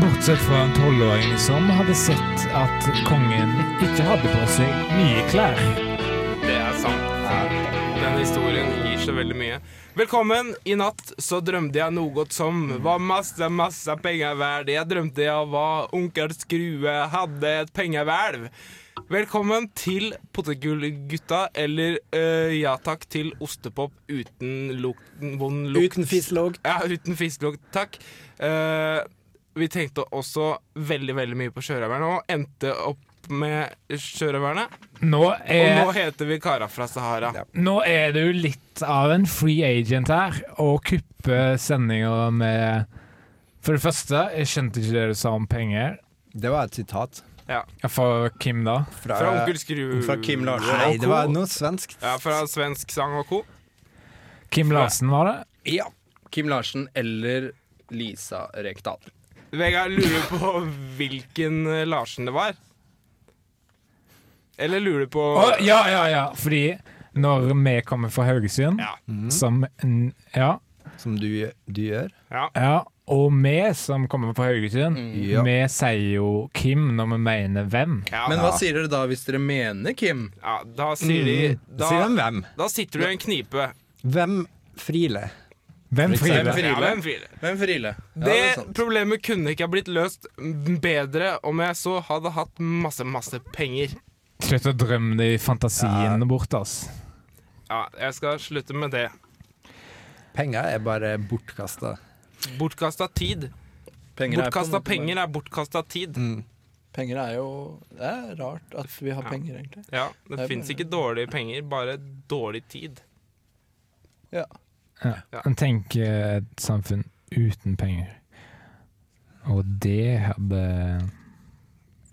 Bortsett fra en tolvåring som hadde sett at kongen ikke hadde på seg nye klær. Det er sant. Den historien gir så veldig mye. Velkommen. I natt så drømte jeg noe som var masse, masse penger verd. Jeg drømte jeg var onkel Skrue, hadde et pengehvelv. Velkommen til Potetgullgutta, eller eh, ja takk til ostepop uten lukten, vond lukt. Uten fisselogg. Ja, uten fiskelukt, takk. Eh, vi tenkte også veldig, veldig mye på sjørøverne, og endte opp med sjørøverne. Nå Og nå Eh, er, heter vi Kara fra Sahara. Ja. nå er du litt av en free agent her, og kupper sendinger med For det første, jeg skjønte ikke det du sa om penger. Det var et sitat Ja, For Kim, da? fra, Fra Onkel Skru. eh, Fra Kim Larsen. Nei, og det var co. noe svensk. Ja, fra svensk sang og co. Kim Larsen, var det? Ja. Kim Larsen eller Lisa Rekdal. Vegard lurer på hvilken eh, Larsen det var. Eller lurer du på Å, ja, ja, ja. Fordi når vi kommer fra Haugesund, Ja. som n- Ja. Som du, du gjør. ja. Ja, og vi som kommer fra Haugesund, Ja. vi sier jo Kim når vi mener hvem. ja. Men hva sier dere da hvis dere mener Kim? ja da sier de Mm. da, Sier han hvem? da sitter du i en knipe. Hvem Friele? Hvem For eksempel. Fride? Friele. Ja, hvem friler? Hvem Friele? Ja, Det er sant. problemet kunne ikke ha blitt løst bedre om jeg så hadde hatt masse, masse penger. Slutt å drømme de fantasiene bort, altså. ass. Ja, jeg skal slutte med det. Penger er bare bortkasta. Bortkasta tid. Penger er på en Bortkasta måte bare- penger er bortkasta tid. Penger er jo Det er rart at vi har Ja. penger, egentlig. Ja, Det det er fins bare- ikke dårlige penger, bare dårlig tid. Ja. Ja. Men Tenk eh, et samfunn uten penger. Og det hadde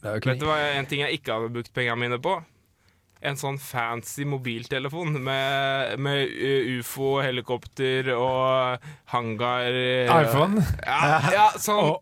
Det er jo Vet du ikke hva en ting jeg ikke hadde brukt pengene mine på? En sånn fancy mobiltelefon med, med uh, ufo, helikopter og hangar eh, iPhone. Ja, ja sånn. Og-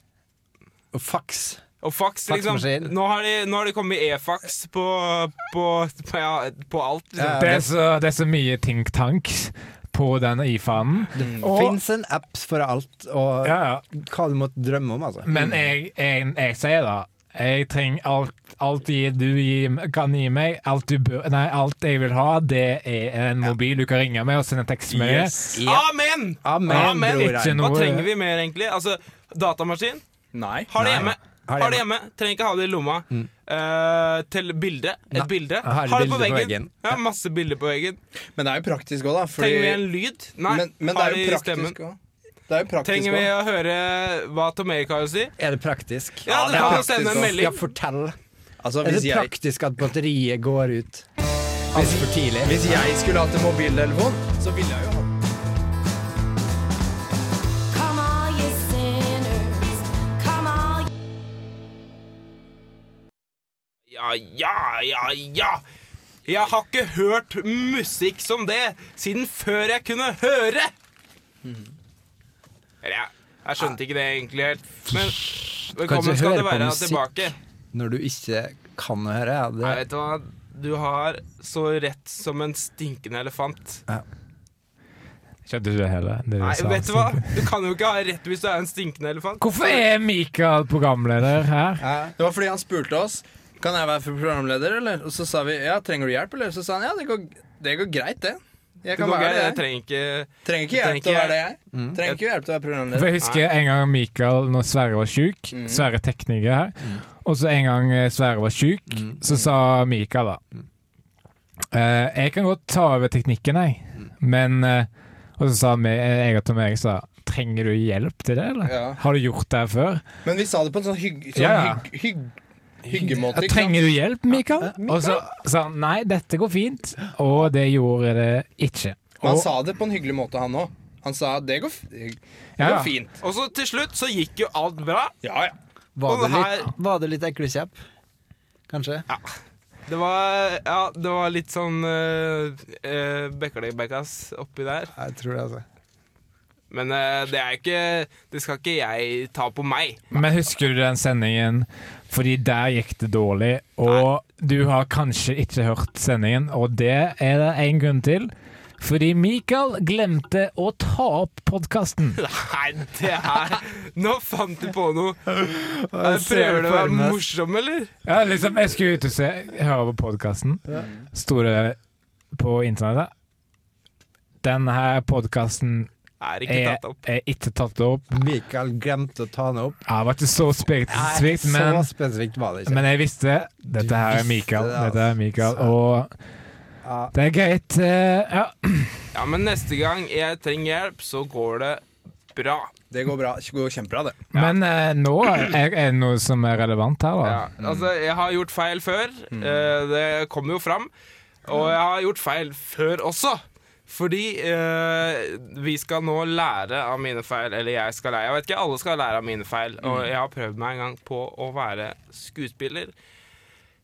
Og faks. Og fax, liksom. Faksmaskin. Nå har de, nå har de kommet e-fax på, på, på, ja, på alt. Liksom. Ja, Det er så, det er så mye think tanks på den ifanen. Og Fins en app for alt og ja, ja. hva du måtte drømme om, altså. Men jeg, jeg, jeg sier da Jeg trenger alt, alt gi- du gi, kan gi meg. Alt, du bør, nei, alt jeg vil ha, det er en mobil du kan ringe med og sende tekstmelding. Ja. Amen! Amen, Amen. bror. Ikke Hva noe- trenger vi mer, egentlig? Altså, Datamaskin? Nei. Har det Nei. hjemme. Har det Mm. Har det hjemme. Trenger ikke ha det i lomma. Eh, til bilde. Et Nei. bilde. Har Har det det på bilde på veggen. veggen. Ja, masse bilder på veggen. Men det er jo praktisk òg, da. Fordi, Trenger vi en lyd? Nei. men, men det har er jo det i stemmen. praktisk òg. Det er jo praktisk Trenger vi også. å høre hva Tom Erik har å si? Er det praktisk? Ja, dere det er kan jo praktisk, sende en da. melding. Ja, fortell. Altså, Er hvis, det jeg, praktisk at batteriet går ut altfor tidlig? hvis jeg skulle hatt en mobiltelefon, så ville jeg jo hatt Come all you sinners, come all you Ja, ja, ja, ja. Jeg har ikke hørt musikk som det siden før jeg kunne høre. Mm. Eller, jeg, jeg skjønte ikke det egentlig helt. Men Kan velkommen ikke skal høre du på være musikk. tilbake. Når du ikke kan høre, ja, Nei, det vet du hva? Du har så rett som en stinkende elefant. Skjønte ikke det heller. Det du Nei, sa. vet du hva? Du kan jo ikke ha rett hvis du er en stinkende elefant. Hvorfor er Mikael programleder her? Det var fordi han spurte oss Kan jeg være programleder, eller? Og så sa vi ja, trenger du hjelp, eller? Så sa han ja, det går, det går greit, det. Jeg Du kan går være ikke, det. jeg Jeg trenger ikke trenger ikke hjelp trenger til å ikke være det, jeg. Trenger ikke hjelp til å være For programleder. jeg husker en gang Mikael, når Sverre var sjuk Mm. Sverre er tekniker her. Og så en gang eh, Sverre var sjuk, Mm. så sa Mikael da «Eh, Jeg kan godt ta over teknikken, jeg. Mm. Men eh, Og så sa vi, eh, jeg og Tom Erik sa Trenger du hjelp til det, eller? Ja. Har du gjort det her før? Men vi sa det på en sånn, hygg, sånn Ja. hygg, hygg, hyggemåte. Ja, ikke sant? trenger du hjelp, Mikael? Og så sa han nei, dette går fint. Og det gjorde det ikke. Men han Og- sa det på en hyggelig måte, han òg. Han sa det går, f- det Ja, går ja. fint. Og så til slutt så gikk jo alt bra. Ja, ja. Var Og det her- litt, var det litt eklekjepp? Kanskje? Det var, ja, det var litt sånn uh, Bekkalegg-bekkas oppi der. Jeg tror det, altså. Men eh, det er ikke Det skal ikke jeg ta på meg. Men husker du den sendingen? Fordi der gikk det dårlig, og du har kanskje ikke hørt sendingen, og det er det én grunn til. Fordi Mikael glemte å ta opp podkasten. Nei, det her Nå fant du på noe. ser Prøver du å for være meg. morsom, eller? Ja, liksom, jeg skulle ut og se, høre på podkasten. Store på internettet. Denne podkasten Er Eh. ikke er, tatt opp. er ikke tatt opp. Mikael glemte å ta den opp. Ja, det var ikke så spesifikt, men Så spesifikt var det ikke. Men jeg visste dette her er visste Mikael. det, altså. Dette er Mikael Så- og Ja. det er greit. eh, Ja. Ja, men neste gang jeg trenger hjelp, så går det bra. Det går bra. Det går kjempebra, det. Men eh, nå er, er det noe som er relevant her, da. Ja, altså, jeg har gjort feil før. eh, Det kommer jo fram. Og jeg har gjort feil før også. Fordi eh, vi skal nå lære av mine feil. Eller jeg skal lære. Jeg vet ikke, alle skal lære av mine feil. Og jeg har prøvd meg en gang på å være skuespiller.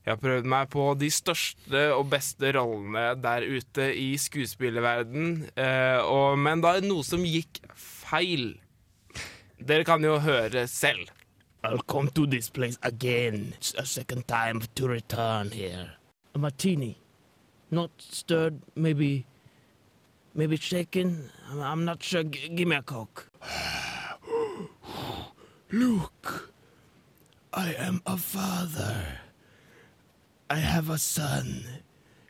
Jeg har prøvd meg på de største og beste rollene der ute i skuespillerverden. Eh, og, men da er det noe som gikk feil. Dere kan jo høre selv. I'll come to this place again. It's a second time to return here. A martini. Not stirred, maybe. Maybe shaken. I'm, I'm not sure. G- give me a coke. Look. I am a father. I have a son.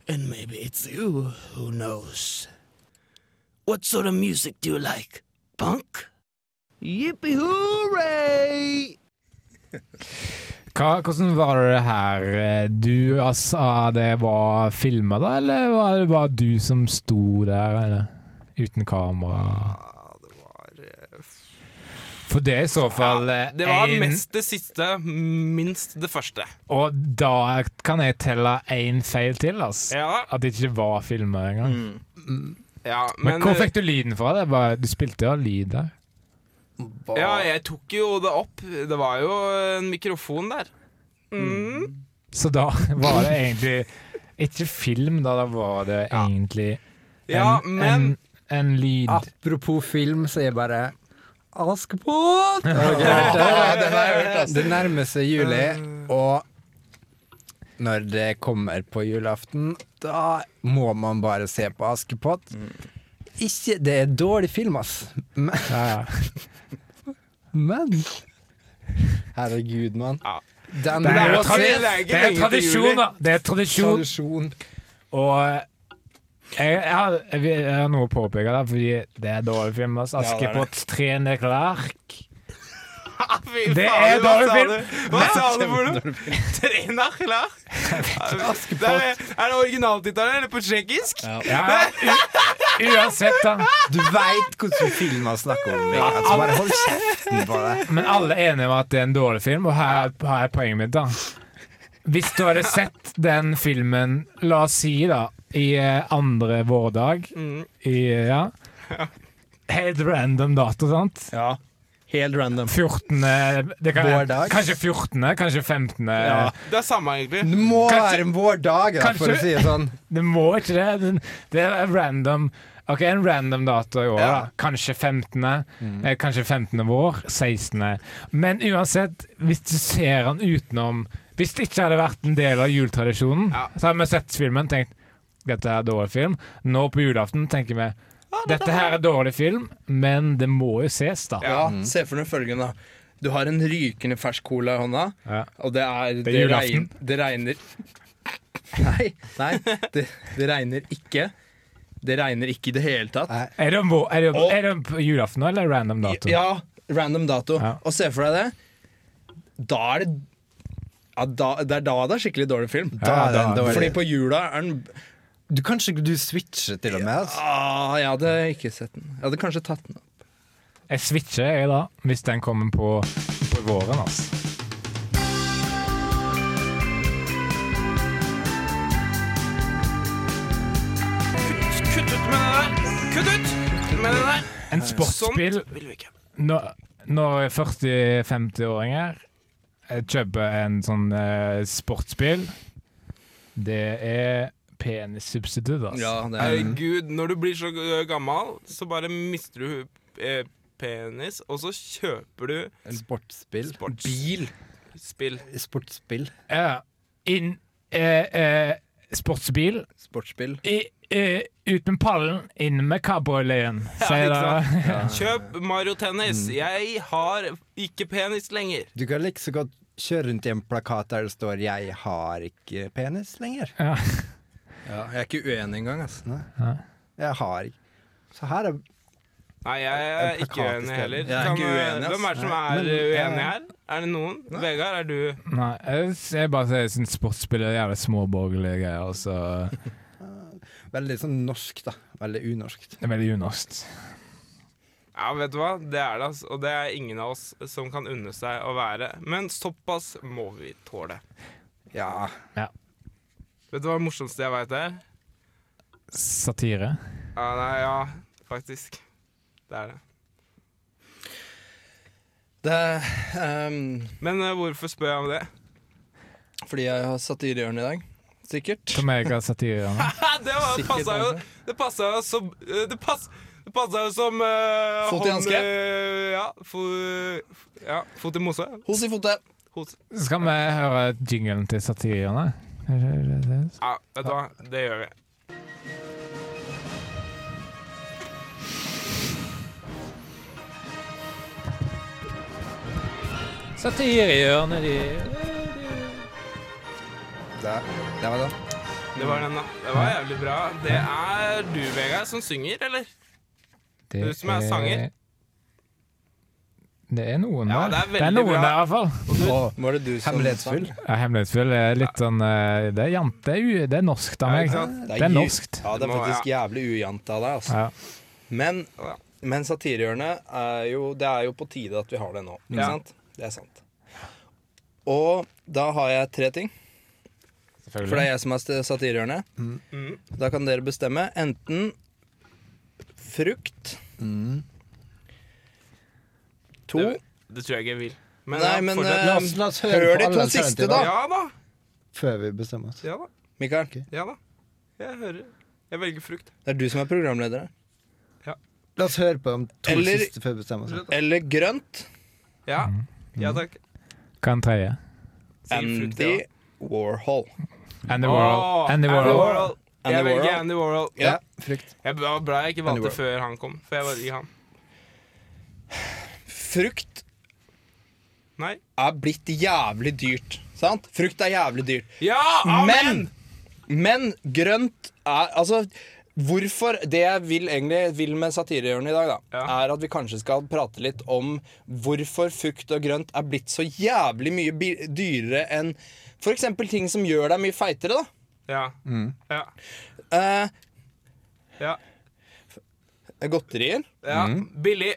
And maybe it's you. Who knows? What sort of music do you like? Punk? Yippee hooray! Hva, hvordan var det her? eh, Du sa det var filma, da? Eller var det bare du som sto der eller? uten kamera? For det er i så fall eh, eh, Det var en- mest det siste, minst det første. Og da kan jeg telle én feil til, ass. Ja, At det ikke var filma engang. ja Men men, eh, hvor fikk du lyden fra? Det var, du spilte jo lyd der. eh, Ja, jeg tok jo det opp. Det var jo en mikrofon der. Mm. Så da var det egentlig ikke film, da. Da var det egentlig en, Ja, men en, en lyd. Ah. Apropos film, så er jeg bare Askepott! Har dere hørt det? Det nærmer seg juli, og når det kommer på julaften, da må man bare se på Askepott. Ikke Det er dårlig film, ass. Men, Ja, ja. men Herregud, mann. Ja. Den Det er, må jo tradi- ses! det er ikke det er lenge til tradisjon, juli. da! Det er tradisjon. Tradisjon. Og jeg, jeg, har, jeg har noe å påpeke der, fordi det er dårlig film. ass. det er det. Askepotts treende klark. ah, Fy Det faen, er hva dårlig sa film. du? Hva sa du for noe? Trena klar? Det Er er det originaltittelen eller på tsjekkisk? Ja, u- uansett, da. Du veit hvordan film man snakker om. Mikael, så bare hold kjeften på deg. Men alle er enige om at det er en dårlig film, og her, her er poenget mitt, da. Hvis du hadde sett den filmen, la oss si, da, i eh, andre vårdag Mm. i, eh, ja. Helt random dato, sant? Ja. Helt random. 14. Det kan, Vårdag? Kanskje 14., kanskje 15. Det er samme, egentlig. Det må Kanskje- være en vårdag, da, for å Kanskje- si det sånn. Det må ikke det. Den- Det er random. Ok, En random dato i år. Ja. da. Kanskje 15. eh, Kanskje 15. vår. 16. Men uansett, hvis du ser han utenom Hvis det ikke hadde vært en del av juletradisjonen, Ja. så hadde vi sett filmen og tenkt dette er dårlig film. Nå på julaften tenker vi dette her er dårlig film, men det må jo ses, da. Ja, Se for deg følgende. Du har en rykende fersk cola i hånda, Ja. og det er Det er julaften. regn- det regner Nei, nei det, det regner ikke. Det regner ikke i det hele tatt. Nei. Er det, må- er det, Og- er det på julaften nå, eller random dato? Ja, random dato. Ja. Og se for deg det. Da er det ja, da, Det er da det er skikkelig dårlig film. Ja, Da er det en da- dårlig Fordi på jula er den Du Kanskje du switcher til og med? Altså. ah, Jeg hadde ikke sett den. Jeg hadde kanskje tatt den opp. Jeg switcher jeg da, hvis den kommer på, på våren, altså. Kutt, kutt ut med det der! Kutt ut med det der! En sportsbil Sånt vil vi ikke. Når, når 40-50-åringer eh, kjøper en sånn eh, sportsbil Det er penissubstitutt, altså. Ja, det er, Mm. Herregud, når du blir så g- gammel, så bare mister du eh, penis, og så kjøper du Sportsspill. sportsbil. Sportsspill. Ja. Inn eh, eh, sportsbil. Sportsbil. I, eh, ut med pallen, inn med cowboyløyen, sier ikke det. Kjøp Mario Tennis. Mm. Jeg har ikke penis lenger. Du kan like så godt kjøre rundt i en plakat der det står 'Jeg har ikke penis lenger'. Ja. Ja, jeg er ikke uenig engang, altså. Jeg har ikke Så her er Nei, jeg er En plakat ikke uenig isteden. heller. Jeg er ikke uenig, ass. eh, hvem er det som Nei, er uh, men- uenig Ja. her? Er det noen? Vegard, er du Nei, jeg, jeg bare sier, jeg syns sportsbil er jævlig småborgerlige greier, altså. og så veldig sånn norsk, da. Veldig unorskt. det er veldig unorsk. Ja, vet du hva? Det er det, altså. Og det er ingen av oss som kan unne seg å være. Men såpass må vi tåle. Ja. Vet du hva det morsomste jeg veit er? Satire. Ja, nei, ja, faktisk. Det er det. Det er ehm, Men uh, hvorfor spør jeg om det? fordi jeg har satirehjørnet i dag. Sikkert. Som jeg har satire med. det var- Sikkert, passa jo altså. Det passa jo som eh, Det pass... Det passa jo som eh, Fot i hånd, hanske? eh, ja, fo- ja. Fot i mose. Hos i fotet. Hos. Så skal vi høre jinglen til satirene. Ja, vet du hva? Det gjør vi. Satirehjørnet de Det, det var det. Det var den, da. Det var jævlig bra. Det er du, Vegard, som synger, eller? Du som er sanger. Det er noen Ja, der. det er det er veldig noen bra. der, i hvert fall. Og Var det du som hemmelighetsfull. sang? Ja, Hemmelighetsfull er litt sånn eh, Det er jante, det er- det er norskt av Ja, meg. ikke sant? Det er ju- norskt. Ja, det er Det må- faktisk jævlig ujant av deg, altså. Ja. Men, Ja. men satirehjørnet er jo Det er jo på tide at vi har det nå. Ikke Ja. sant? Det er sant. Og da har jeg tre ting. For det er jeg som er st- satirehjørnet. Mm. Da kan dere bestemme. Enten frukt Mm. To Det, det tror jeg ikke jeg vil. Men, Nei, ja, men fortsett. eh, La oss- la oss høre hør på de alle to alternativer. siste, da. ja da. Før vi bestemmer oss. Ja da. Mikael, Ja da. Jeg hører. Jeg velger frukt. det er du som er programleder. La oss høre på de to Eller- siste før vi bestemmer oss. Eller grønt. Ja. Ja takk. Hva er den tredje? Sier frukt, Mm. Andy ja. Warhol. Andy Åh, Warhol. Andy Warhol. Warhol. Andy Jeg velger Warhol. Andy Warhol. Ja. Ja, frykt. Jeg var bra jeg ikke Andy valgte Warhol. før han kom. For jeg var i han. Frukt Nei. er blitt jævlig dyrt. Sant? Frukt er jævlig dyrt. Ja! Amen! Men grønt er Altså, hvorfor Det jeg vil egentlig vil med satirehjørnet i dag, da, Ja. er at vi kanskje skal prate litt om hvorfor frukt og grønt er blitt så jævlig mye bi- dyrere enn f.eks. ting som gjør deg mye feitere, da. Ja. Mm. Ja. Eh, ja. godterier, ja. Mm. Billig.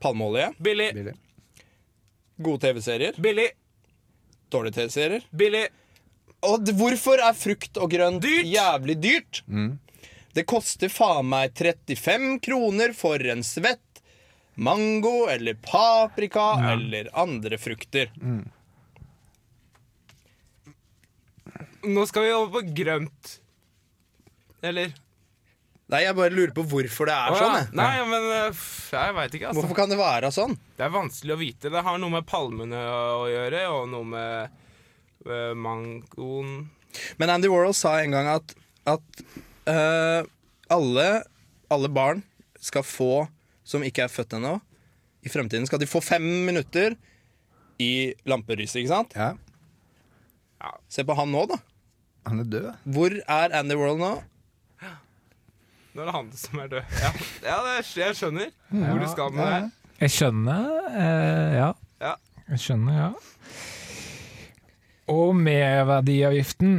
palmeolje, Billig. Billig. gode TV-serier, Billig. dårlige TV-serier. Billig. Og d- hvorfor er frukt og grønt Dyrt! jævlig dyrt? Det koster faen meg 35 kroner for en svett mango eller paprika eller andre frukter. Nå skal vi over på grønt. Eller? Nei, jeg bare lurer på hvorfor det er Å, sånn. ja. jeg. Nei, men eh, f- jeg veit ikke, altså. Hvorfor kan det være sånn? Det er vanskelig å vite. Det har noe med palmene å å gjøre, og noe med eh, mangoen Men Andy Warhol sa en gang at, at eh, alle, alle barn skal få, som ikke er født ennå, i fremtiden skal de få fem minutter i lamperyset, ikke sant? Ja. Se på han nå, da. Han er død. Hvor er Andy Warhol nå? Nå er det han som er død. Ja, ja det, jeg skjønner hvor du skal med det her. Jeg skjønner, eh, ja. Ja. Jeg skjønner, ja. Og merverdiavgiften.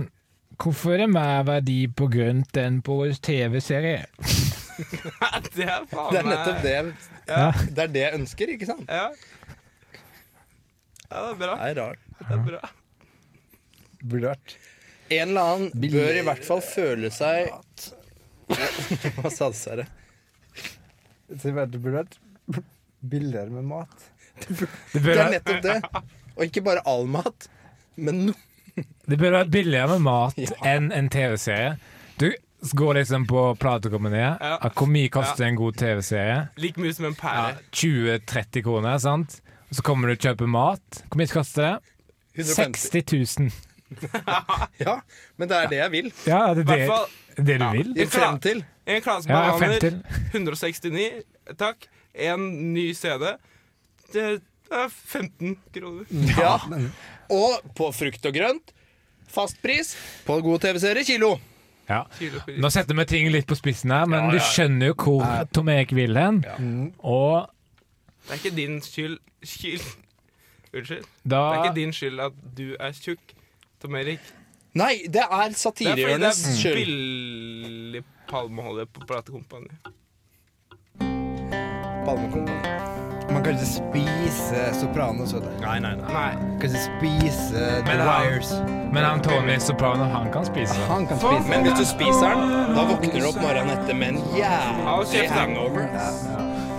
Hvorfor er det mer verdi på grønt enn på TV-serie? Det er faen Det er nettopp det, Ja. det er det jeg ønsker, ikke sant? Ja. ja, det er bra. Det er rart. Det er bra. Burde vært En eller annen bør i hvert fall føle seg Hva sanser det? Det burde vært billigere med mat. Det Det burde, er nettopp det. Og ikke bare all mat, men no. det burde vært billigere med mat enn en TV-serie. Du går liksom på platekompaniet. Ja. at Hvor mye koster en god TV-serie? Like mye som en Ja, pære. 20-30 kroner, sant? Og så kommer du og kjøper mat. Hvor mye koster det? 150. 60 000. Ja, men det er det jeg vil. Ja, det er hvert det, fall- det du Ja. vil. I frem til. En klasse Ja, ja, bananer. fem 169, takk. En ny CD. Det er 15 kroner. Ja. Og på frukt og grønt. Fastpris på god TV-serie kilo. Ja. Kilo for- Nå setter vi ting litt på spissen her, men du skjønner jo hvor Tom Erik vil hen. Mm. Og Det er ikke din skyld Skyld Unnskyld. da Det er ikke din skyld at du er tjukk, Tom Erik. Nei, det Det er er fordi det satirehjørnets er skyld. billig palmeolje på platekompani. Palmekompani. Man kan ikke spise Sopranos. vet du. Nei, nei, nei. Nei. Man kan ikke spise The Men han- Wires. Men han Tony Soprano, han kan spise. Han kan spise Men hvis du spiser den, da våkner du opp morgenen etter med en jævlig kjeft, da. hangover.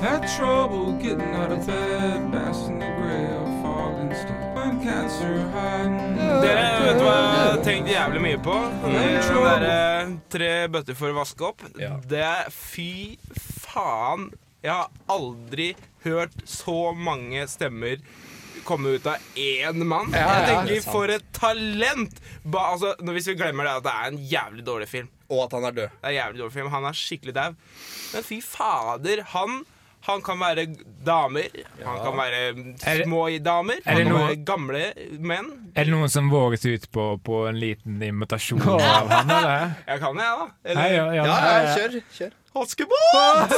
Had trouble getting out of bed, bashing the grill, falling stuck. When cats are hiding. Dere vet du hva jeg har tenkt jævlig mye på? Den derre tre bøtter for å vaske opp. Det er fy faen. Jeg har aldri hørt så mange stemmer komme ut av én mann. ja, jeg det er tenker sant. for et talent! Ba, altså, nå, hvis vi glemmer det at det er en jævlig dårlig film. Og at han er død. Det er en jævlig dårlig film. Han er skikkelig dau. Men fy fader, han han kan være damer, han kan Er være det- små damer, det han kan noe- være gamle menn. Er det noen som våger seg ut på, på en liten imitasjon av han, eller? Jeg kan det, jeg, da. Eller- Hei, ja, ja. Ja, ja, kjør. kjør. Askepott!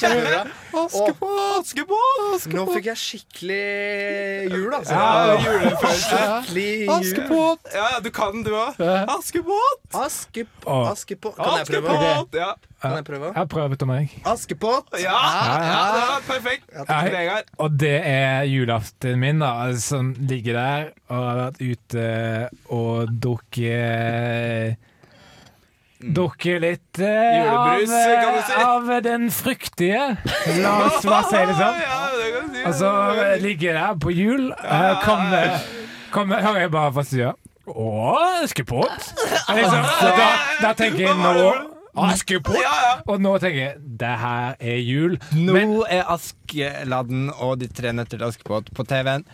Kjempebra. Askepott! Nå fikk jeg skikkelig jul, altså. Ja, julefølelse. Skikkelig jul. Askepott! Ja, ja, du kan du òg. Askepott! Askepott. Å. Askepott. Kan jeg prøve? Askepott! Ja. Kan jeg prøve? Jeg har prøvd, Tom Erik. Askepott. Ja, ja, det var perfekt. Nei. Vegard. Og det er julaften min, da, som ligger der og har vært ute og drukket Drukket litt eh, Mm. Julebrus, av, eh, kan du si. av den fryktige. La oss bare si det sånn. Ja, det kan du si. Og så eh, ligger jeg der på jul, eh, Ah. kommer, kommer, hører jeg bare fra sida Å, Askepott! Og Liksom, Ah. og da, da tenker jeg nå Ja, Askepott! ja. Og nå tenker jeg det her er jul. Nå Men er Askeladden og De tre nøtter til Askepott på TV-en.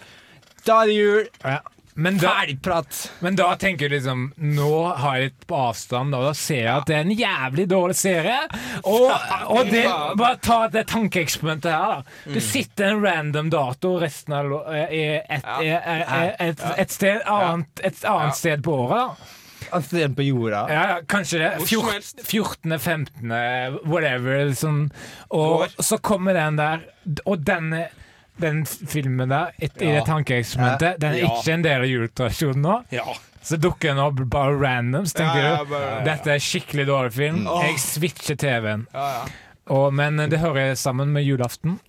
Da er det jul! ja. Men da, Ferdigprat! Men da tenker du liksom Nå har jeg litt på avstand, og da ser jeg at det er en jævlig dårlig serie. Og, og det, bare ta det tankeeksperimentet her, da. Du sitter en random dato resten av lo- eh, et, eh, eh, et, et sted annet, et annet sted på året. da. Altså, det er på jorda. Ja, ja, kanskje det. Hvor som Fjort- helst. 14., 15., whatever. Sånn. Og Går. så kommer den der, og den den filmen der, et, i det tankeeksperimentet, den er Ja. ikke en del av juletradisjonen nå. Ja. Så dukker den opp bare random, så tenker Ja, ja, du bare- Dette er skikkelig dårlig film. Jeg switcher TV-en. Ja, ja. Og, men det hører sammen med julaften.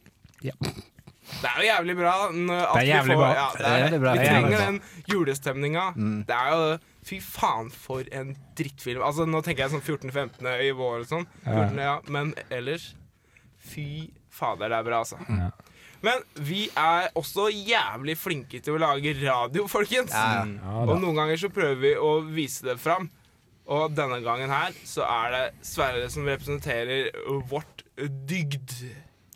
Det er jo jævlig bra. når- at Det er vi jævlig får- bra. Ja, det Det er er, jævlig bra. Vi Det er jævlig Mm. trenger den julestemninga. Det er jo Fy faen, for en drittfilm. Altså, nå tenker jeg sånn 14-15 i vår og sånn. 14, ja. Men ellers Fy fader, det er bra, altså. Men vi er også jævlig flinke til å lage radio, folkens. da. og noen ganger så prøver vi å vise det fram. Og denne gangen her så er det Sverre som representerer vårt dygd.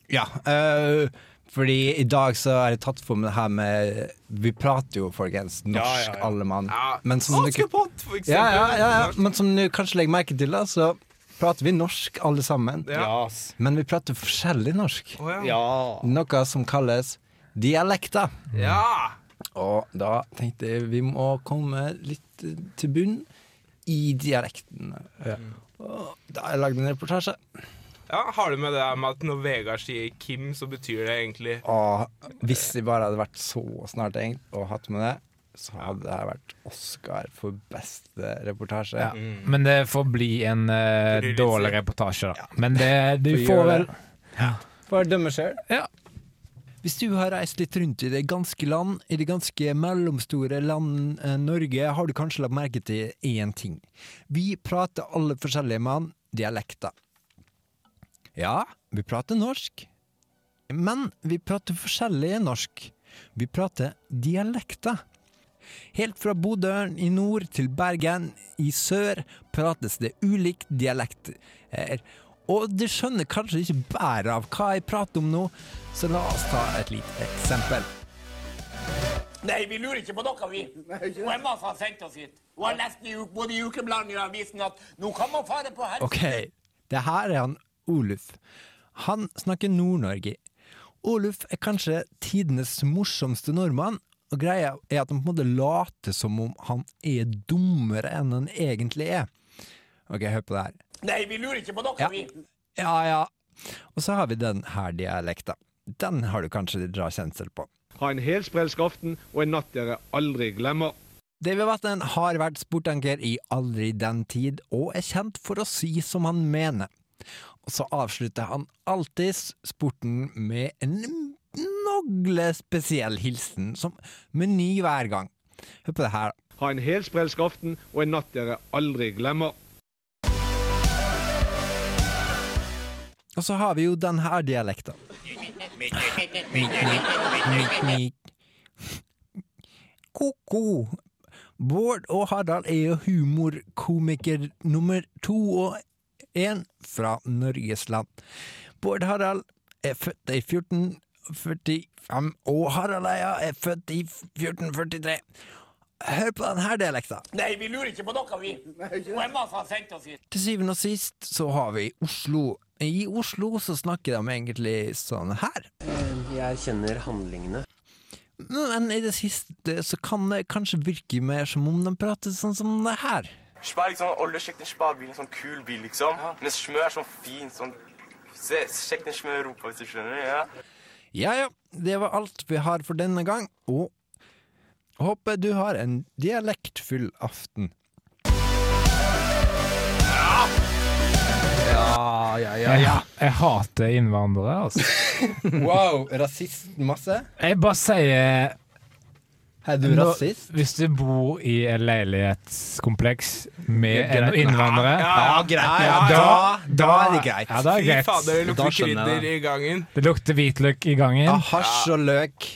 Ja, øh, fordi i dag så har jeg tatt for meg det her med Vi prater jo, folkens, norsk, alle mann. Ja. Men som dere, Askepott, for eksempel. ja, ja, ja, ja. Men som du kanskje legger merke til, da, så prater vi norsk, alle sammen. Ja. Yes. Men vi prater forskjellig norsk. Å, ja. Ja. Noe som kalles dialekter. Ja. Og da tenkte jeg vi må komme litt eh, til bunn i dialekten. Og da har jeg lagd en reportasje. ja! Har du med det der med at når Vegard sier Kim, så betyr det egentlig Og hvis jeg bare hadde vært så snart tenkt og hatt med det, så hadde det vært Oscar for beste reportasje. Ja. Men det får bli en eh, Fordi det er dårlig litt- reportasje, da. Men det, du Får får gjøre vel det. Bare dømme sjøl. Hvis du har reist litt rundt i det ganske land, i det ganske mellomstore land eh, Norge, har du kanskje lagt merke til én ting. Vi prater alle forskjellige mann dialekter. Ja, vi prater norsk, men vi prater forskjellig norsk. Vi prater dialekter. Helt fra Bodø i nord til Bergen i sør prates det ulik dialekt her. Og du skjønner kanskje ikke bæret av hva jeg prater om nå, så la oss ta et lite eksempel. Nei, vi lurer ikke på noe, vi. Og Emma har sendt oss hit. Hun har lest i u- både i ukebladet og i avisen at nå kan man fare på helg. Ok, det her er han Oluf. Han snakker Nord-Norge. Oluf er kanskje tidenes morsomste nordmann, og greia er at han på en måte later som om han er dummere enn han egentlig er. Ok, hør på det her. Nei, vi lurer ikke på noe, Ja. vi. Ja, ja. Og så har vi den her dialekta. Den har du kanskje dra kjensel på. Ha en helsprelsk aften og en natt dere aldri glemmer. David Vatnen har vært sportanker i aldri den tid, og er kjent for å si som han mener. Og så avslutter han alltid sporten med en nogle spesiell hilsen, som meny hver gang. Hør på det her, da. Ha en helsprelsk aften og en natt dere aldri glemmer. Og så har vi jo den her dialekten. Ko-ko. Bård og Harald er jo humorkomiker nummer to og én fra Norges land. Bård Harald er født i 1445, og Harald Eia er født i 1443. Hør på den her dialekta. Nei, vi lurer ikke på noe, vi. Og Emma har sendt oss hit. Til syvende og sist så har vi Oslo. I Oslo så snakker de egentlig sånn her. Jeg kjenner handlingene. Men i det siste så kan det kanskje virke mer som om de prater sånn som det her. Spar liksom oljekjekk den sparbilen, sånn kul bil, liksom. Men smør sånn fin, sånn Se, Sjekk den smør rumpa, hvis du skjønner. ja. Ja ja, det var alt vi har for denne gang, og håper du har en dialektfull aften. Ja, ja, ja, Jeg, jeg hater innvandrere, altså. Wow, rasistmasse? Jeg bare sier Er du Nå- rasist? Hvis du bor i en leilighetskompleks med Ja, en greit. innvandrer greit. ja, da- da er det greit. Ja, det er Fy greit. fader, det Da lukter skjønner jeg krydder i gangen. Det lukter hvitløk i gangen, Ja, hasj og løk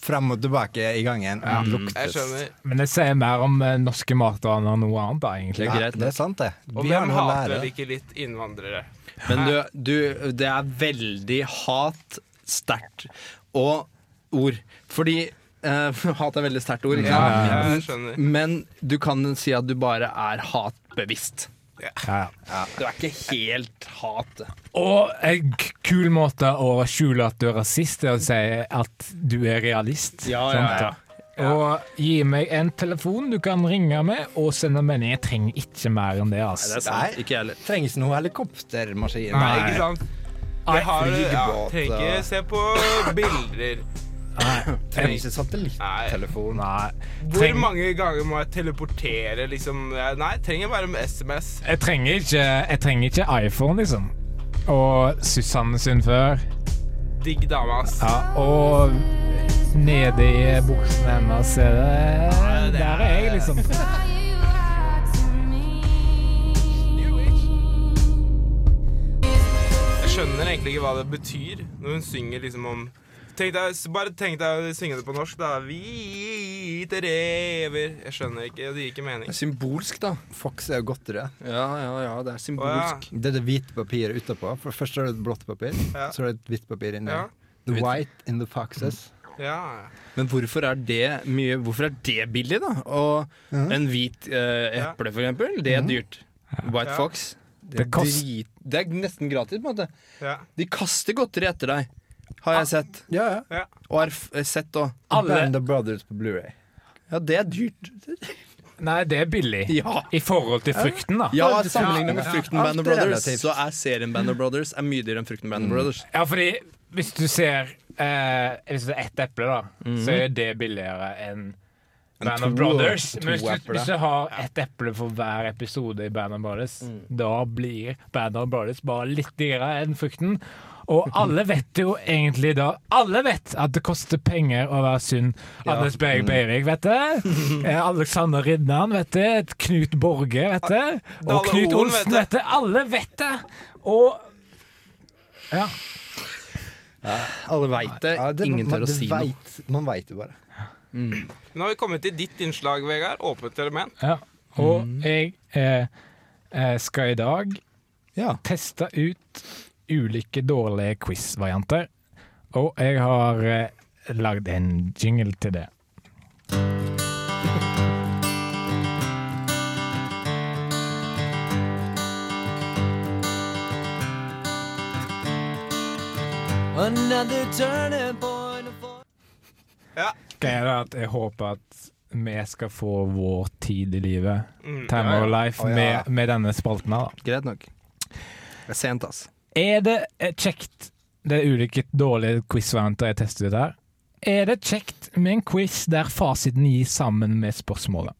fram og tilbake i gangen. Jeg skjønner. men det sier mer om eh, norske matvaner enn noe annet, da, Det egentlig. er greit. Det er sant, det. Og Vi har hvem noe å hater lære. vel ikke litt innvandrere? Men du, du, det er veldig hat sterkt og ord. Fordi eh, hat er veldig sterkt ord. ikke sant? Jeg skjønner. Men du kan si at du bare er hatbevisst. Ja. Du er ikke helt hat. Og en k- kul måte å skjule at du er rasist, er å si at du er realist. Ja, ja, Sant? Og gi meg en telefon du kan ringe med og sende melding. Jeg trenger ikke mer enn det. altså. Det er sant. Ikke jeg heller. Trengs noe helikoptermaskin? Nei, ikke sant? Jeg har ja, Trenger ikke se på bilder. Trengs ikke satellittelefon? Nei. Hvor Treng, mange ganger må jeg teleportere, liksom? Nei, trenger bare med SMS. jeg, trenger ikke, jeg trenger ikke iPhone, liksom. Og Susanne Sundfør. Digg dame, ass. Ja, og nede i buksene hennes er det Der er jeg, liksom. You are to me. Jeg skjønner egentlig ikke hva det betyr når hun synger liksom om tenk deg, Bare tenk deg å synge det på norsk, da. Hvite rever Jeg skjønner ikke. Det gir ikke mening. Det er symbolsk, da. Fox er jo godt rød. Ja, ja, ja, det er symbolsk. Det er det hvite papiret utapå. For Først er det et blått papir, Ja. så er det et hvitt papir inni. Ja. The white in the foxes. Ja. Men hvorfor er det mye Hvorfor er det billig, da? Og en hvit eh, eple, for eksempel, det er dyrt. White Ja. Fox. Mhm. Det er, Det kost- drit, det er nesten gratis, på en måte. ja. De kaster godteri etter deg, har jeg sett. Ja, ja. Og har f- eh, sett òg. Band of Brothers på Blu-ray Ja, det er dyrt. Nei, det er billig. Ja. I forhold til frykten, da. Ja, Sammenlignet med Frukten Alt Band of er Brothers, relativt. så er serien Band of Brothers er mye dyrere enn Frukten Band of Brothers. Ja, fordi hvis du ser eh, Hvis det er ett eple, da, så er det billigere enn Band of to- Brothers. to Men hvis du, eple. hvis du har ett eple for hver episode i Band of Brothers, da blir Band of Brothers bare litt dyrere enn frukten. Og alle vet jo egentlig da Alle vet at det koster penger å være sunn. Anders Berg Beirik, vet du. Eh, Alexander Ridnan, vet du. Knut Borge, vet du. Og Dale Knut Holen, Olsen, vet vet du. Alle vet det. Og Ja. Alle veit det. Ingen tør å si noe. Man veit jo bare. Nå har vi kommet til ditt innslag, Vegard. Åpent element. Ja. Og jeg eh, eh, skal i dag Ja. teste ut ulike dårlige quiz-varianter. Og jeg har eh, lagd en jingle til det. Another turning point Greia er at jeg håper at vi skal få vår tid i livet, Mm. Time Ja, of ja. Life, Å, ja. med, med denne spalten her. da. Greit nok. Det er sent, ass. Er det eh, kjekt Det er ulike dårlige quiz-varianter jeg tester ut her. Er det kjekt med en quiz der fasiten gis sammen med spørsmålet?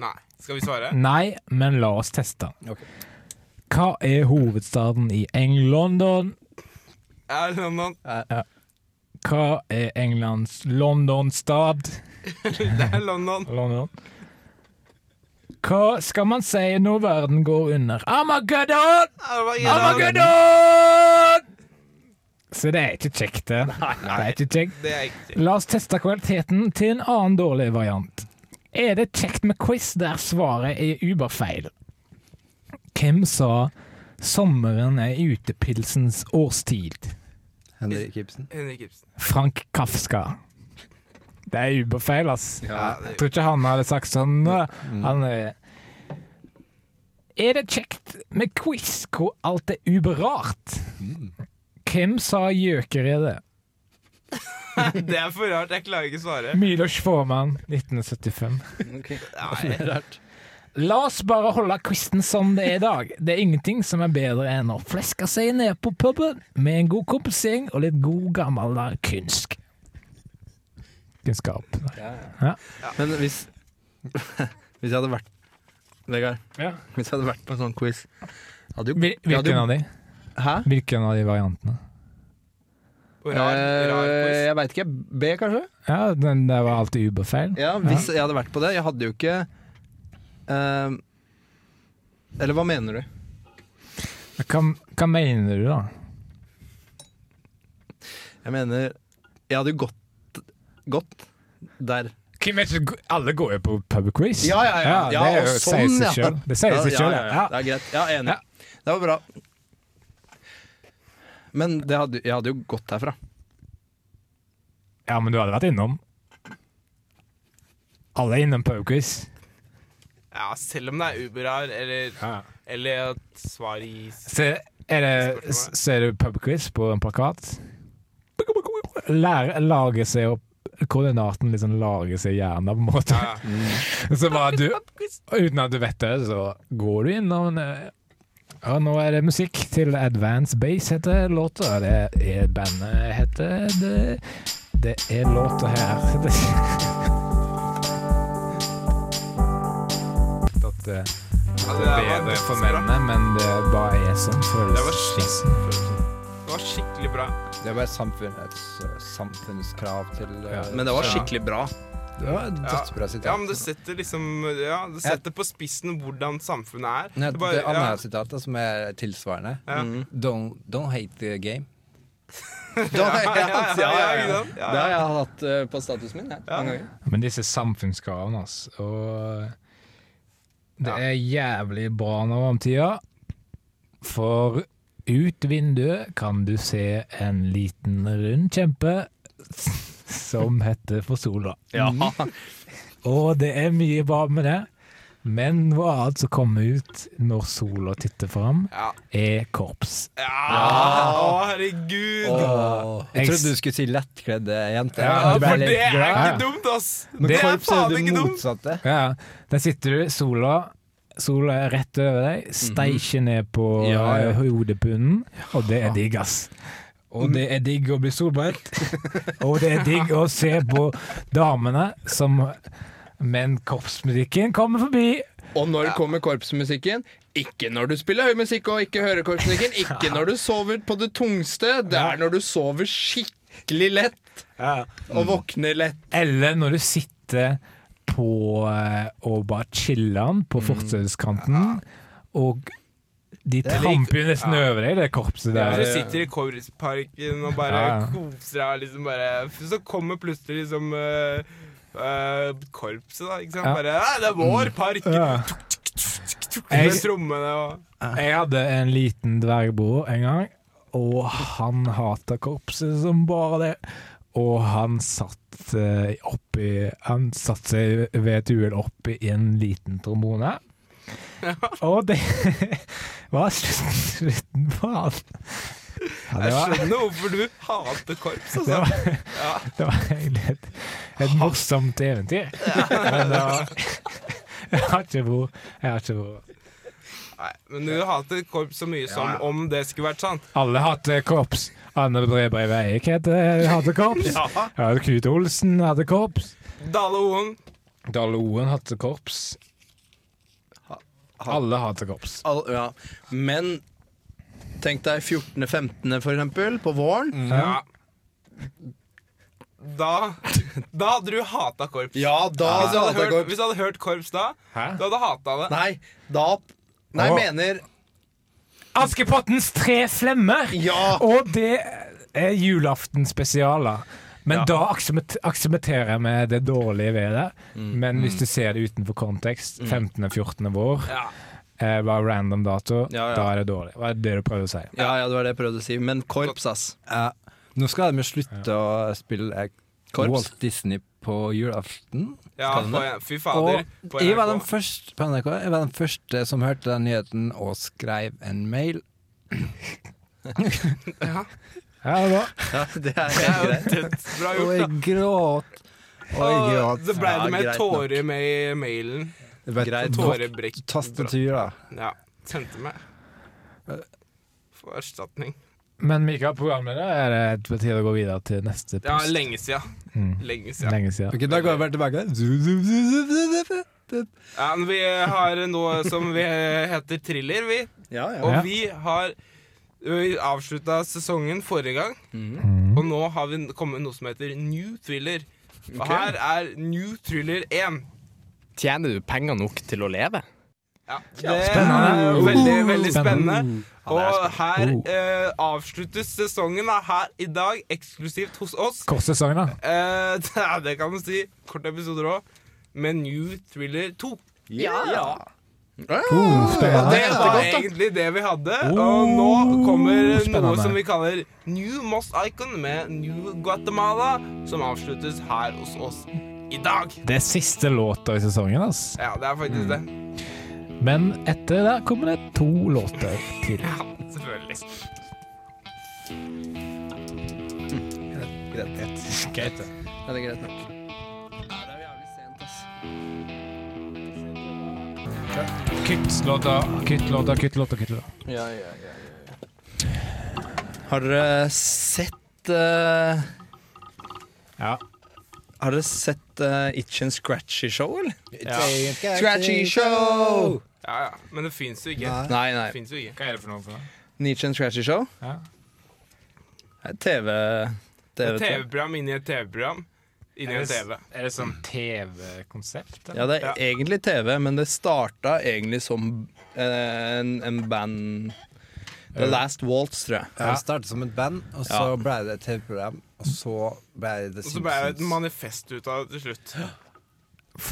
Nei. Skal vi svare? Nei, men la oss teste. Hva er hovedstaden i Eng London? Er det noen Ja. Hva er Englands London-stad? Det er London. Hva skal man si når verden går under? Armageddon! Armageddon! Armageddon! Så det er ikke kjekt, det. det er ikke kjekt. Det er ikke La oss teste kvaliteten til en annen dårlig variant. Er det kjekt med quiz der svaret er uberfeil? Hvem sa 'sommeren er utepilsens årstid'? Henrik Ibsen. Henrik Ibsen. Frank Kafka. Det er uberfeil, ass. Ja, det- Mm. Jeg tror ikke han hadde sagt sånn. da. Han er Er det kjekt med quiz hvor alt er uberart? Mm. Hvem sa gjøkeredet? Det er for rart. Jeg klarer ikke å svare. Milos Forman, 1975. Nei. La oss bare holde quizen som det er i dag. Det er ingenting som er bedre enn å fleske seg ned på puben med en god kompising og litt god gammel der kunsk. Kunnskap. Ja. Men hvis Hvis jeg hadde vært Vegard, hvis jeg hadde vært på en sånn quiz hadde jo, jeg hadde Hvilken jo- av de? Hæ? Hvilken av de variantene? Eh, jeg veit ikke. B, kanskje? Ja, den der var alltid uberfeil. Ja, hvis jeg hadde vært på det. Jeg hadde jo ikke eh, Eller hva mener du? Hva, hva mener du, da? Jeg mener Jeg hadde jo gått Gått der. Hvem er ikke, alle går jo på pub quiz. Ja, ja, ja. ja, det er og jo- sånn, sier ja. seg sjøl. Det sier seg Ja, sjøl, ja, ja. Det er greit. Ja, enig. Det var bra. Men det hadde, jeg hadde jo gått herfra. Ja, men du hadde vært innom. Alle er innom pub quiz. Ja, selv om det er Uber her, eller, eller at svaret gis Så er det, ser du pubquiz på en plakat? Lære, lage seg opp Koordinaten liksom lager seg i hjernen, på en måte. Så bare du Uten at du vet det, så går du innom en, eh, ja, Nå er det musikk til Advance Base, heter låta. Det er bandet heter Det, det er låta her. At eh, Ja, det er bedre for mennene, men det bare er sånn Det var følelsesmessig. Det var skikkelig bra. Det er bare samfunnets, samfunnskrav til eh, Men det var ja. skikkelig bra. Det var et dødsbra sitat. Ja, men det setter liksom Ja, det setter på spissen hvordan samfunnet er. Nei, Det Det, bare- andre ja. sitatet, som er tilsvarende Ja. Mm. Mhm. don't, don't hate the game. ja, ja, ja, ja, ikke ja. sant? Det har jeg hatt eh, på statusen min. Jeg, mange ganger. Men disse samfunnskravene, altså. Og det er jævlig bra nå om tida. For ut vinduet kan du se en liten rund kjempe som heter for sola. Ja. Og det er mye bra med det. Men noe annet som kommer ut når sola titter fram, er korps. Ja. Å, herregud! Åh, jeg trodde du skulle si lettkledde jenter. Ja, Du ble for litt det er glad. ikke Ja. Dumt, ass! Men Det er korps er faen jo ikke det dumt. motsatte. Ja, ja. Der sitter du, sola Sola er rett over deg, steikjer ned på Ja, eh, ja. hodepunnen, og det er digg, ass. Og det er digg å bli solbrent, og det er digg å se på damene som Men korpsmusikken kommer forbi. Og når kommer korpsmusikken? Ikke når du spiller høy musikk og ikke hører korpsmusikken. Ikke når du sover på det tungste. Det er når du sover skikkelig lett. Og våkner lett. Eller når du sitter på eh, og bare chiller'n på fortauskanten, og de er lik- tramper jo nesten ja. over deg, det korpset Ja, der. du sitter i Korpsparken og bare Ja. koser deg, og liksom bare Så kommer plutselig liksom eh, eh, korpset, da. Ikke sant? Ja. Bare «Æ, Det er vår park! Ja. Med Jeg- trommene og Jeg hadde en liten dvergbror en gang, og han hata korpset som bare det. Og han satt eh, oppi Han satte seg ved et uhell oppi en liten trombone. Og det var slutten, slutten på han. Ja, det Jeg var- skjønner hvorfor du hater korps, Det var, altså. Ja. det var egentlig et, et morsomt eventyr. Men det var, jeg har ikke hvor. Jeg har ikke hvor. Men du hater korps så mye som om det skulle vært sant. Alle hater korps. Anne Brebreid Veik heter- hadde korps. Ja. Ja, Knut Olsen hadde korps. Dale Oen. Dale Oen hadde korps. Alle hater korps. Al ja. Men tenk deg 14.-15., for eksempel, på våren. Mm. Ja. Da Da hadde du hata korps. Ja, da hvis, du hadde hadde jeg hatet hørt, korps. hvis du hadde hørt korps da, Hæ? du hadde hata det. Nei, da Nei, Åh. mener Askepottens tre flemmer! Og det er julaftenspesialer. Men da aksepter- aksepterer jeg med det dårlige ved det. Mm. Men hvis du ser det utenfor kontekst, 15. 14. vår, eh, bare random dato, Ja, ja. da er det dårlig. Hva er det du prøver å si? Ja, ja, det var det jeg prøvde å si. Men korps, ass. Ja. Nå skal de slutte å spille eh, Korps. Walt Disney på julaften. Ja, Skal de det? på- fy fader, Og på jeg var, NRK. den første, på NRK, jeg var den første som hørte den nyheten og skrev en mail. Ja, det var. Ja, det er Det er jo greit. tøft. Bra Og jeg gjort, da. gråt. Og jeg Og gråt. så ble det med Ja, greit nok. tårer med i mailen. Vet- Tårebrekk. Tastatur, da. Ja. Sendte meg. For erstatning. Men Mikael, programmet er det på tide å gå videre til neste Ja, post. lenge sia. Mm. Lenge sia. Lenge siden. Ok, Da går jeg bare tilbake. Ja, men vi har noe som vi heter thriller, vi. Ja, ja. Og Ja. vi har vi avslutta sesongen forrige gang, og nå har vi kommet med noe som heter New Thriller. Og Ok. her er New Thriller 1. Tjener du penger nok til å leve? Ja, det er Spennende. veldig, veldig Spennende. spennende. Og her eh, avsluttes sesongen da, her i dag, eksklusivt hos oss. Kort sesong, da. Eh, ja, det kan du si. Korte episoder òg. Med New Thriller 2. Ja. Uh, Og spennende. det var egentlig det vi hadde. Og nå kommer noe spennende. som vi kaller New Moss Icon med New Guatemala, som avsluttes her hos oss i dag. Det er siste låta i sesongen, altså. Ja, det er faktisk det. Men etter det kommer det to låter til. Ja, selvfølgelig. Greit. Greit. Ja, det er greit nok. Ja, det er jo jævlig sent, ass. Kutt låta, kutt låta, kutt låta, kutt låta. Ja, ja, ja, Har dere sett eh, Ja. Har dere sett eh, Itch and Scratchy Show, eller? Ja. Scratchy Show! Ja, ja. Men det fins jo ikke. Nei, nei. Det finnes jo ikke. Hva er det for noe? for Itch and Scratchy Show? Ja. Det er TV... TV, TV-program inni et TV-program inni en TV. Er det sånn TV-konsept? Ja, det er egentlig TV, men det starta egentlig som eh, en, en band The Last Waltz, tror jeg. Det startet som et band, og så Ja. ble det et TV-program, og så ble det The Og så ble det et Simpsons. manifest ut av det til slutt.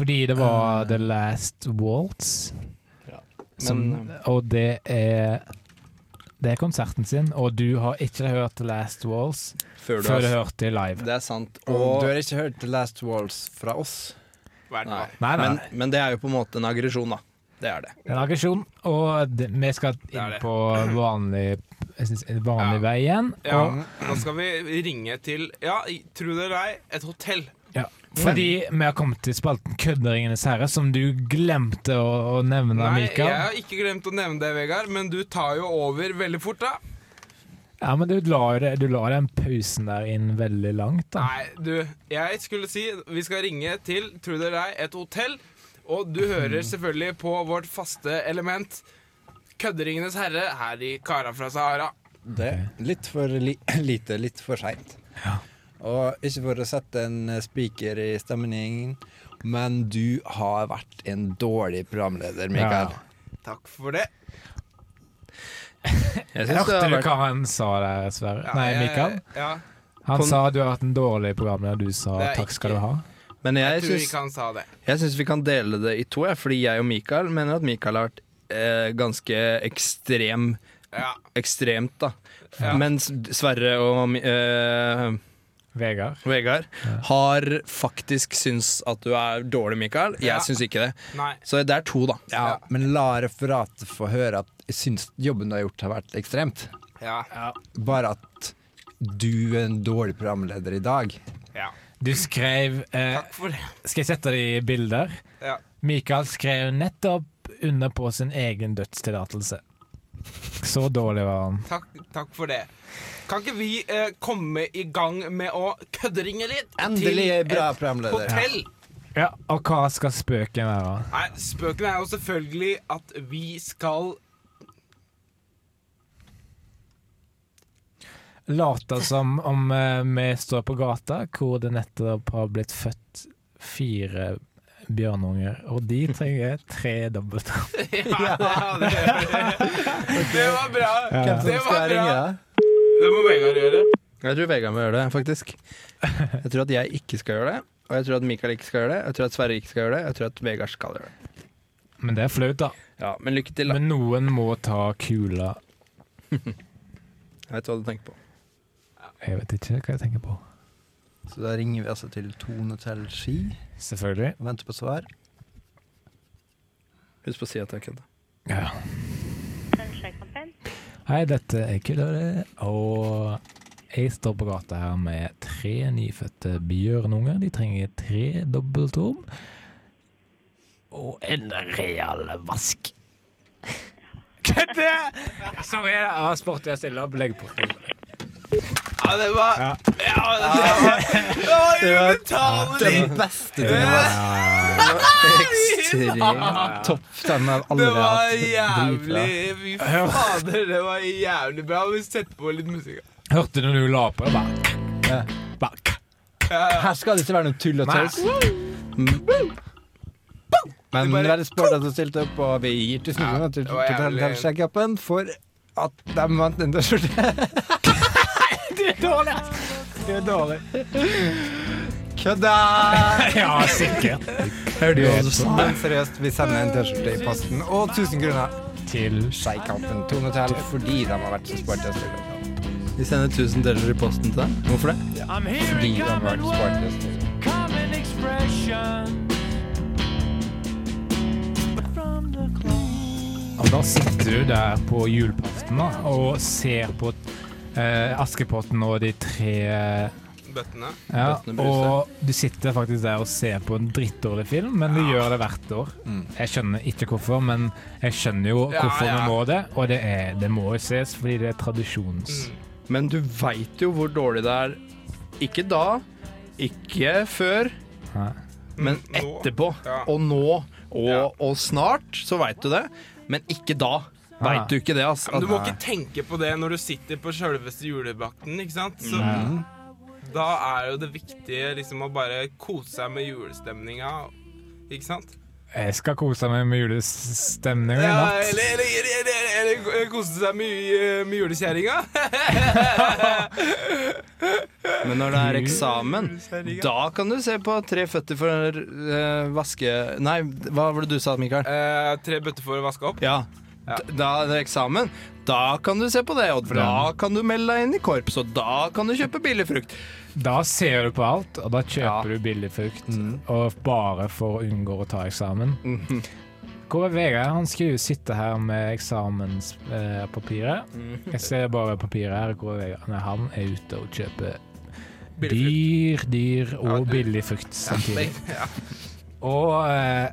Fordi det Mm. var The Last Waltz. Som, og det er Det er konserten sin, og du har ikke hørt The Last Waltz eh, Før du før du har- hørte det live. Det er sant. Og Og du har ikke hørt The Last Walls fra oss? Hver Nei. dag. Nei, nei. Men, men det er jo på en måte en aggresjon, da. Det er det. Det er en aggresjon, og det, vi skal er inn det. på vanlig, jeg synes, vanlig vei igjen. Ja, Og, nå skal vi ringe til Ja, tro det eller ei, et hotell. ja. Fordi vi har kommet til spalten Kødderingenes herre, som du glemte å, å nevne, Nei, jeg Mikael. har ikke glemt å nevne det, Vegard, men du tar jo over veldig fort, da. Ja, men du la, jo det- du la den pausen der inn veldig langt, da. Nei, du, jeg skulle si vi skal ringe til, tro det eller ei, et hotell. Og du hører selvfølgelig på vårt faste element, Kødderingenes herre, her i Kara fra Sahara. Det er litt for li lite, litt for seint. Og ikke for å sette en eh, spiker i stemningen, men du har vært en dårlig programleder, Mikael. Ja. Takk for det. Jeg synes det Hørte har du vært- hva han sa der, Sverre? Ja, Nei, jeg- Mikael? Ja, Han Kon- sa du har vært en dårlig programleder, og du sa Det er takk skal ikke- du ha. Men jeg jeg tror syns, ikke han sa det. jeg syns vi kan dele det i to, jeg, fordi jeg og Mikael mener at Mikael har vært eh, ganske ekstrem Ja. Ekstremt, da. Ja. Mens Sverre og eh, Vegard. Vegard har faktisk syns at du er dårlig, Mikael. Jeg Ja. syns ikke det. Nei. Så det er to, da. Ja, men la referatet få høre at jeg syns jobben du har gjort, har vært ekstremt. Bare at du er en dårlig programleder i dag. Du skrev eh, Skal jeg sette det i bilder? Ja. Mikael skrev nettopp under på sin egen dødstillatelse. Så dårlig var han. Takk, takk for det. Kan ikke vi eh, komme i gang med å kødderinge litt? til Endelig bra et programleder. Hotell. Ja, Og hva skal spøken være? Nei, spøken er jo selvfølgelig at vi skal Late som om eh, vi står på gata hvor det nettopp har blitt født fire bjørnunger, og de trenger tre dobbelter. Ja, det, det var bra. Hvem som Det skal var bra. ringe? Det må Vegard gjøre. Jeg tror Vegard må gjøre det, faktisk. Jeg tror at jeg ikke skal gjøre det. Og jeg tror at Mikael ikke skal gjøre det. Jeg tror at Sverre ikke skal gjøre det. Jeg tror at Vegard skal gjøre det. Men det er flaut, da. Ja, Men lykke til, da. Men noen må ta kula. Jeg vet hva du tenker på. Jeg vet ikke hva jeg tenker på. Så da ringer vi altså til Tone Tell Ski. Selvfølgelig. Og venter på svar. Husk på å si at jeg kødder. Ja. Hei, dette er Killere, og jeg står på gata her med tre nyfødte bjørnunger. De trenger tre dobbeltrom og en real vask. Kødde! Sorry, jeg har sport jeg stiller opp. Legg på. Ja, det var Ja, det var Det var ubetalelig. Den beste du Ekstremt topp. Den har aldri Det var hatt. Dritbra. jævlig Fy fader, det var jævlig bra. Vi setter på litt musikk. Hørte du når du la på? Jeg bare, Ja. Her skal det ikke være noe tull og Nei. tøys. Mm. Men veldig sport at du stilte opp, og vi gir tusen kroner til det var jævlig. Totalsjekkappen for at de vant en T-skjorte. Det er dårlig, ass. Det er dårlig. Kødda! Ja, sikkert. Hører du også? Men seriøst, vi sender en T-skjorte i posten og 1000 kroner til Skeikampen Tonetell fordi de har vært så sporty å stille opp. Vi sender 1000 deler i posten til deg. Hvorfor det? I'm Fordi hearing de har common vært så words, sporty å stille opp. common expression. From the Og da sitter du der på julaften da, og ser på eh, Askepotten og de tre Bøttene. ja, Bøttene bruser. Og du sitter faktisk der og ser på en drittdårlig film, men du gjør det hvert år. Jeg skjønner ikke hvorfor, men jeg skjønner jo Ja, hvorfor ja. vi må det. Og det, er, det må jo ses, fordi det er tradisjons... Men du veit jo hvor dårlig det er. Ikke da, ikke før, men Mm, etterpå. Og nå, og, og snart, så veit du det. Men ikke da. Veit du ikke det, ass. Men du må At- ikke tenke på det når du sitter på sjølveste julebakten, ikke sant? Så Mm. da er jo det viktige liksom å bare kose seg med julestemninga, ikke sant? Jeg skal kose meg med julestemningen i Ja, natt. eller, eller, eller, eller, eller kose seg med, eh, med julekjerringa. Men når det er eksamen, da kan du se på Tre føtter for eh, vaske... Nei, hva var det du sa, Mikael? Eh, tre bøtter for å vaske opp? Ja. D- Da er det eksamen. Da kan du se på det, og da kan du melde deg inn i korps, og da kan du kjøpe billig frukt. Da ser du på alt, og da kjøper du billig frukt. Mm. Og bare for å unngå å ta eksamen. Hvor er Vegard? Han skulle jo sitte her med eksamenspapiret. Mm. Jeg ser bare papiret her. Hvor er Vegard? Nei, han er ute og kjøper dyr, dyr og billig frukt samtidig. Ja. Og eh,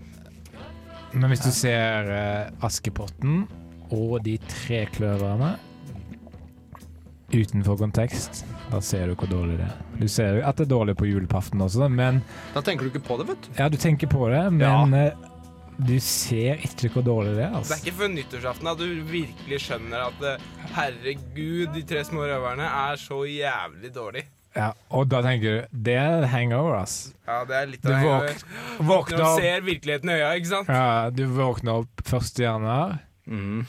Men hvis du ser eh, Askepotten og de tre kløverne utenfor kontekst, da ser du hvor dårlig det er. Du ser jo at det er dårlig på julepaften også, men Da tenker du ikke på det, vet du. Ja, du tenker på det, men eh, du ser ikke hvor dårlig det er, Det er altså. ikke før nyttårsaften at du virkelig skjønner at eh, herregud, de tre små røverne er så jævlig dårlig. Ja, og da tenker du Det er hangover, altså. ass. Ja, det er litt Du av våk- våkner Når opp. du ser virkeligheten i øya, ikke sant? Ja, du våkner opp 1. januar.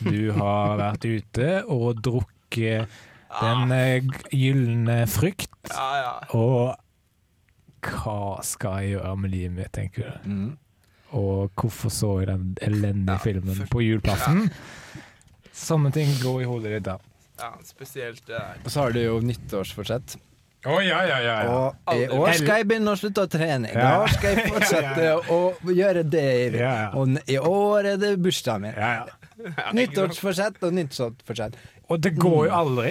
Du har vært ute og drukket den eh, g- gylne frykt. Og hva skal jeg gjøre med livet mitt, tenker du. Og hvorfor så jeg den elendige filmen på julaften? Sånne ting går i hodet ditt da. Ja, spesielt det der. Og så har du jo nyttårsforsett. Å, ja, ja, ja. ja. Og i år skal jeg begynne å slutte å trene. I Ja. år skal jeg fortsette å gjøre det. Og n- i år er det bursdagen min. Nyttårsforsett og nyttårsforsett. Og det går jo aldri.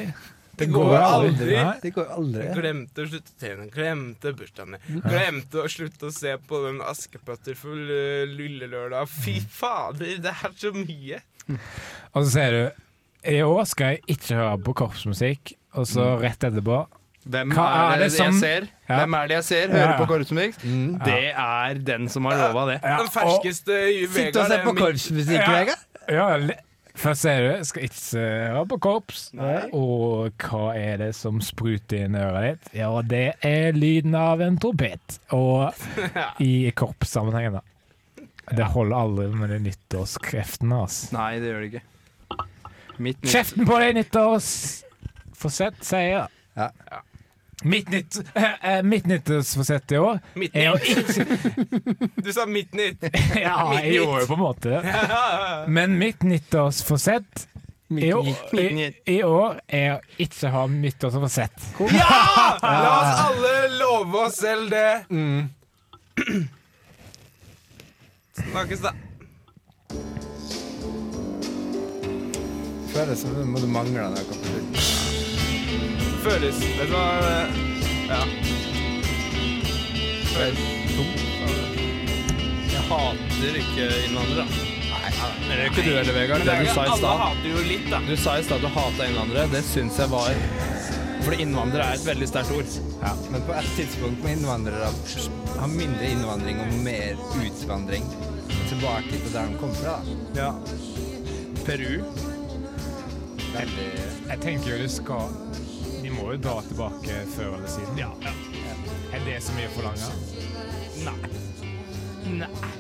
Det går aldri. Nei, Det går aldri. Jeg glemte å slutte å trene, glemte bursdagen min. Glemte å slutte å se på den Askepøtterfull eh, lille lørdag. Fy fader, det er så mye! Og så sier du I år skal jeg ikke høre på korpsmusikk, og så rett etterpå Hvem Hva er, det, jeg som- ser? Ja. Hvem er det jeg ser? Ja, Hører ja. på korpsmusikk? Det er den som har lova det. Den ferskeste Vegard er min- Ja. Ja, le- Først sier du 'skal ikke høre på korps', og hva er det som spruter inn i øret ditt? Ja, det er lyden av en trompet, og i korpssammenhengen, da. Det holder aldri med de nyttårskreftene, altså. Nei, det gjør det ikke. Mitt nytt- Kjeften på deg, nyttårsforsett, sier jeg. Ja. Mitt, nytt, eh, eh, mitt nyttårsforsett i år Mitt er å nytt. ikke Du sa mitt nytt. Ja, Mitt jeg gjorde nytt. jo på en måte det. Ja. Men mitt nyttårsforsett i år, nytt- mitt i, i år er å ikke ha nyttårsforsett. Ja! La oss alle love oss selv det. Snakkes, da. Føles som om du mangler noe på slutten. Føles Vet du hva eh, Ja. Føles tomt. Jeg hater ikke innvandrere. Nei, det gjør ikke du heller, Vegard. Men Det det er du ikke- sa i alle stad. hater jo litt, da. Du sa i stad at du hata innvandrere. Det syns jeg var Fordi innvandrere er et veldig sterkt ord. Men på et tidspunkt må innvandrere ha mindre innvandring og mer utvandring. Tilbake til der de kom fra. Ja. Peru. Veldig Jeg tenker jo du skal De må jo dra tilbake før eller siden. Ja, Er det så mye å forlange? Nei. Nei.